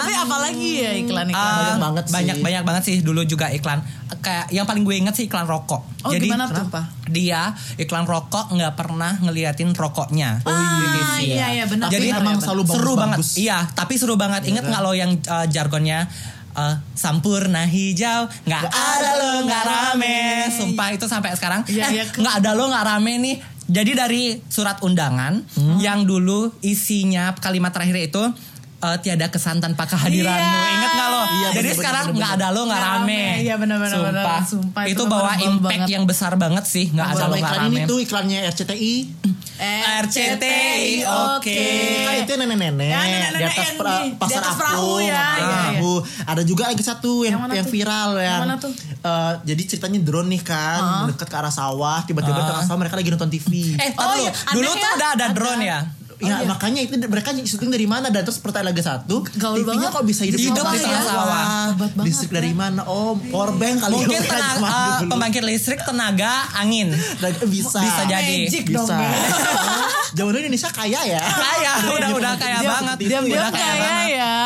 C: Tapi apa lagi ya iklan-iklan?
D: Ah,
B: Banyak banget sih.
D: banyak banyak banget sih dulu juga iklan kayak yang paling gue inget sih iklan rokok
C: Oh, gimana tuh? Kenapa?
D: dia iklan rokok nggak pernah ngeliatin rokoknya
B: Oh,
C: ah, iya iya benar.
B: Tapi
D: Jadi
C: benar, Iya.
B: emang
C: ya,
B: selalu bagus,
D: seru banget
B: bagus.
D: iya tapi seru banget inget nggak lo yang uh, jargonnya uh, sampurna hijau nggak ada lo nggak rame sumpah itu sampai sekarang
C: Iya,
D: eh,
C: iya, kan.
D: nggak ada lo nggak rame nih jadi dari surat undangan
C: Hmm.
D: yang dulu isinya kalimat terakhir itu uh, tiada kesan tanpa kehadiranmu
C: Iya.
D: inget nggak lo
B: Iya,
D: jadi
B: bener-bener,
D: sekarang
B: bener-bener.
D: nggak ada lo nggak
C: Nggak
D: rame
C: rame, iya, bener-bener,
D: sumpah.
C: bener-bener. Sumpah,
D: itu
C: itu
D: bawa
C: memorable
D: impact
C: banget.
D: yang besar banget sih nggak ada
B: Kalau
D: lo nggak
B: iklan
D: rame
B: ini tuh iklannya RCTI.
D: RCTI, oke. Ah,
B: Kan itu nenek-nenek
C: Ya, nenek-nenek
B: di atas
C: yang
B: pra-
C: di- di
B: pasar
C: atas
B: aku.
C: perahu ya,
B: Ah,
C: iya, iya.
B: Bu. Ada juga lagi satu yang
C: Yang mana
B: yang,
C: tuh?
B: viral yang,
C: Yang mana tuh?
B: eh, jadi ceritanya drone nih kan, dekat ke arah sawah, tiba-tiba ke arah sawah mereka lagi nonton TV.
D: eh
C: Oh,
D: oh,
C: iya,
D: dulu
C: ada
D: tuh
C: ya?
D: udah ada
C: Ada.
D: drone ya
B: Ya makanya itu mereka syuting dari mana dan terus pertanyaan lagi satu,
C: Gaul
B: TV-nya
C: banget.
B: kok bisa hidup,
D: Hidup di tengah sawah.
C: Hebat banget,
B: Listrik dari mana? Oh, power bank kali
D: mungkin
B: ya,
D: tenaga,
B: zaman
D: eh,
B: dulu.
D: pembangkit listrik tenaga angin
B: Dan bisa.
D: bisa jadi
C: Magic dong.
B: Bisa. Zaman dulu Indonesia kaya ya.
D: kaya udah udah kaya
B: Dia-
D: banget
B: dia-
D: udah
C: Dia
D: kaya
C: kayak
D: banget
C: ya.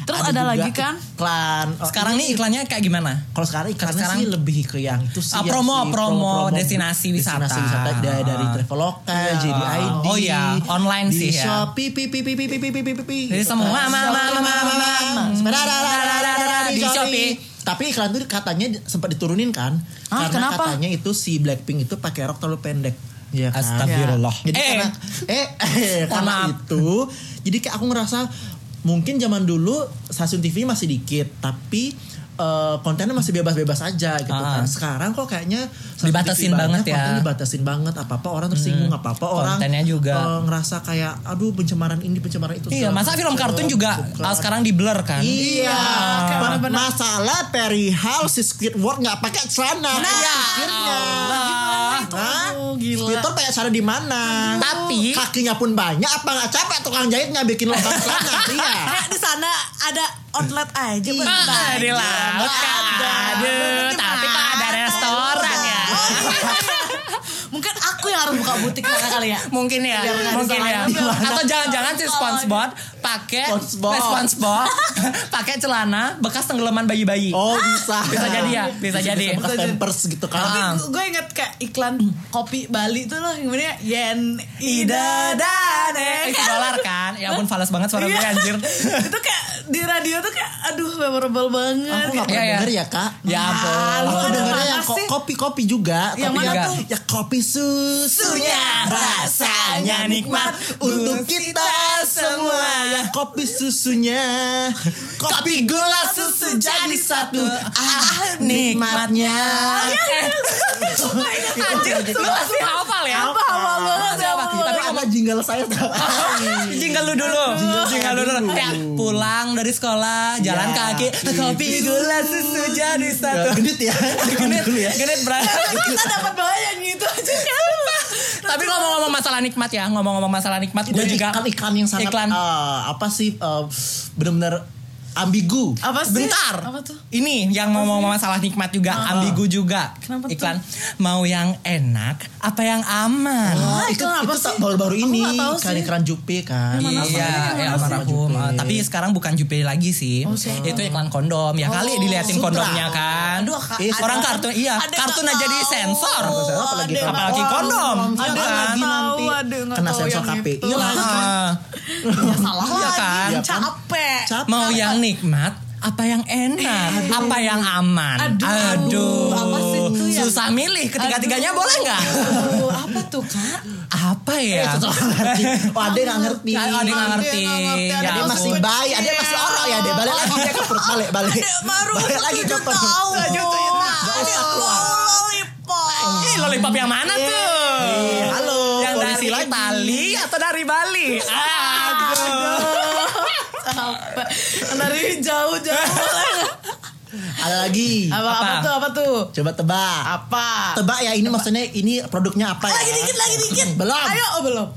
C: Terus ada
B: juga
C: lagi kan?
B: Iklan. Oh,
D: Sekarang nih iklannya kayak gimana?
B: Kalau sekarang iklannya
D: iya. Sekarang-
B: sih lebih ke yang itu sih.
D: Ah,
B: yang
D: promo,
B: si
D: promo, destinasi wisata.
B: Destinasi wisata dari, dari Traveloka, JDID.
D: Oh, iya. Online
B: di
D: sih ya.
B: Shopee, pi, pi, pi, pi, pi, pi, pi, pi, pi.
D: Jadi semua, ma, ma, ma, ma, ma, ma, ma.
B: Sepeda, da, da, da, da, da, da,
D: Di
B: di
D: Shopee.
B: Shopee. Tapi iklan itu katanya di- sempat diturunin kan.
C: Ah,
B: Karena
C: kenapa?
B: katanya itu si Blackpink itu pakai rok terlalu pendek. Iya kan?
D: Astagfirullah.
B: Jadi
D: Eh.
B: karena eh, eh karena
D: Maaf.
B: itu jadi kayak aku ngerasa mungkin zaman dulu stasiun TV masih dikit tapi eh, kontennya masih bebas-bebas aja gitu
D: Ah.
B: kan. Sekarang kok kayaknya stasiun
D: Dibatasin
B: TV
D: banget ya. Hmm.
B: konten dibatasin banget apa-apa orang tersinggung apa-apa orang
D: kontennya juga.
B: eh, ngerasa kayak aduh pencemaran ini pencemaran itu.
D: Iya,
B: segala
D: masa film
B: macam,
D: kartun juga
B: bukan.
D: ah, sekarang di blur kan?
B: Iya,
C: Kayak
B: Ma-
C: bener-bener.
B: masalah perihal si Squidward nggak pakai celana. Nah,
D: iya.
B: akhirnya.
D: Allah.
B: Hah?
C: Aduh, gila.
B: Squidward pakai celana di mana?
D: Tapi-
B: kakinya pun banyak. Apa nggak capek tukang jahitnya bikin lubang celana? Iya.
C: Kayak di sana ada outlet aja buat
D: Ah,
C: belanja.
D: di laut kan aduh, tapi kok ada restoran ya?
C: Oh, iya. Mungkin aku yang harus buka butik sana kali ya.
D: Mungkin ya,
C: Biar nggak
D: mungkin ya.
C: salah ngambil.
D: Atau jangan-jangan si SpongeBob pakai eh,
B: SpongeBob.
D: SpongeBob pakai celana bekas tenggelaman bayi-bayi.
B: Oh bisa.
D: Bisa jadi ya, bisa jadi.
B: bekas pampers gitu
D: Ah.
B: kan.
C: Gue inget kayak iklan kopi Bali tuh loh gimana ya? Yen
D: Ida
C: idadane.
D: dane Itu dolar kan? Ya ampun falas banget suara gue
C: Iya.
D: anjir.
C: itu kayak di radio tuh kayak aduh memorable
B: Aku
C: banget.
D: Iya,
B: nggak pernah
D: iya.
B: denger ya kak.
D: Ya
C: Ah, lu
D: ampun.
B: Aku
C: ada
B: dengernya
C: mana
B: yang ko-
C: sih?
B: kopi-kopi juga.
C: Yang
B: tapi
C: mana
B: juga-
D: tuh?
B: Ya kopi susunya rasanya nikmat untuk kita semua. Ya kopi susunya. Kopi gula susu jadi satu. Ah nikmatnya.
D: Anjir, lu pasti hafal ya?
C: Apa apa banget
D: Pasti
C: ya?
D: hafal.
C: apa-apa.
B: Iya, Tapi apa jingle saya tiap hari?
D: Jingle lu dulu. Jingle lu dulu. Iya. Tiap pulang dari sekolah, jalan
B: Ya.
D: kaki, kopi gula susu jadi
B: Ya,
D: satu.
B: Gendut ya.
D: Genit,
B: Dulu ya.
D: genit berarti.
C: Kita dapat banyak yang gitu aja kan.
D: Tapi ngomong-ngomong masalah nikmat ya, ngomong-ngomong masalah nikmat, gue
B: Dan
D: juga
B: iklan iklan yang sangat
D: Iklan.
C: uh,
B: eh, apa sih eh, benar-benar ambigu.
C: Apa sih?
D: Bentar.
C: Apa tuh? Ah,
D: Ini yang mau mau masalah nikmat juga, ambigu juga.
C: Kenapa tuh?
D: Iklan mau yang enak apa yang aman.
B: Ah,
C: Ah,
B: itu,
C: iklan apa
B: itu tak
C: sih?
B: baru-baru
C: Aku
B: ini
C: nggak tahu
B: kan
C: sih.
B: iklan Jupe kan.
D: Iya, ya, almarhum. Eh, tapi sekarang bukan Jupe lagi sih.
C: Oh,
D: itu iklan kondom. Ya kali diliatin
B: Sutra.
D: kondomnya kan.
C: Aduh, Kak,
B: Iya,
D: orang
B: ada-
D: kartun iya,
C: ada yang
D: kartun
C: nggak
D: aja di
C: tahu.
D: sensor.
C: Oh,
B: apalagi, iya kan?
C: ada yang
D: apalagi
C: nggak
D: kondom. iya kan?
C: tahu. Ada
B: Ada
C: yang
B: lagi
C: nggak
B: nanti
C: tahu, ada yang kan? nggak
B: kena
C: tahu
B: sensor
C: yang
B: KPI.
C: itu.
D: Ah,
C: Ya salah
D: Iya
C: lagi.
D: kan?
B: Iya, kan?
C: Capek.
B: Capek.
D: mau
C: ya?
D: yang nikmat apa yang enak, apa yang aman.
C: Eh, Aduh. Apa sih itu ya?
D: Susah milih ketiga-tiganya
C: Aduh.
D: boleh nggak?
C: Aduh, apa tuh kak?
D: Apa
C: Eh,
D: ya?
B: Oh, ada nggak ngerti.
D: Ada yang nggak ngerti.
C: Ada yang nggak ngerti, ada
D: Ya
B: Ada
C: yang
B: masih
D: ampun.
B: baik, ada masih orok ya, deh. Balik lagi dia ke perut, balik, balik.
C: Baru
B: Balik lagi ke
C: tujuh
B: perut.
C: tahun. ya
B: Tujuh tahun. Nggak usah keluar.
C: Lollipop.
D: Ih, lollipop yang mana tuh?
B: Iya, halo,
D: Yang
B: polisi
D: dari
B: lagi.
D: Itali atau dari Bali? Aduh.
C: Capek. Dari jauh-jauh.
B: Ada lagi.
C: Apa, apa
D: Apa?
C: tuh? Apa tuh?
B: Coba tebak.
C: Apa?
B: Tebak ya ini maksudnya ini produknya apa ya?
D: Iya.
C: Lagi dikit, lagi dikit.
B: Belum.
C: Ayo, oh, belum.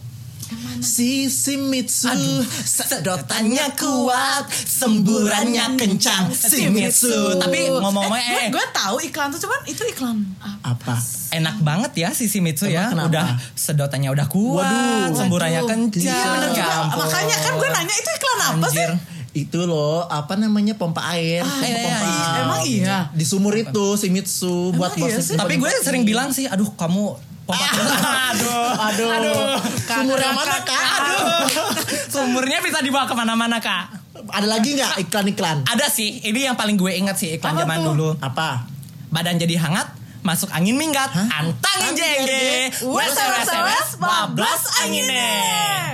B: Si Shimizu sedotannya kuat, semburannya kencang. Shimizu.
D: Tapi ngomong-ngomong eh,
C: Gue tahu iklan tuh, cuman itu iklan apa?
B: apa?
D: enak banget ya si Shimizu ya.
B: kenapa?
D: Udah sedotannya udah kuat,
B: Waduh.
D: semburannya
C: Waduh.
D: kencang.
C: Iya bener
D: Ya
C: juga.
D: ampun.
C: Makanya kan gue nanya itu iklan apa sih?
D: Anjir.
B: Itu loh, apa namanya pompa air, pompa,
D: iya,
B: pompa.
D: iya.
C: Emang iya?
B: Di sumur itu Shimizu buat
C: iya
B: bosin-
C: sih?
D: Tapi gue sering bilang sih, aduh kamu pompa aduh.
B: Aduh. Sumur yang mana, Kak?
D: Sumurnya bisa dibawa kemana-mana kak.
B: Ada lagi nggak iklan-iklan?
D: Ada sih, ini yang paling gue ingat sih iklan
C: Apa
D: zaman
C: tuh?
D: dulu.
B: Apa?
D: Badan jadi hangat, masuk angin minggat, antangin jengge.
C: Wes, wes, wes, bablas angine.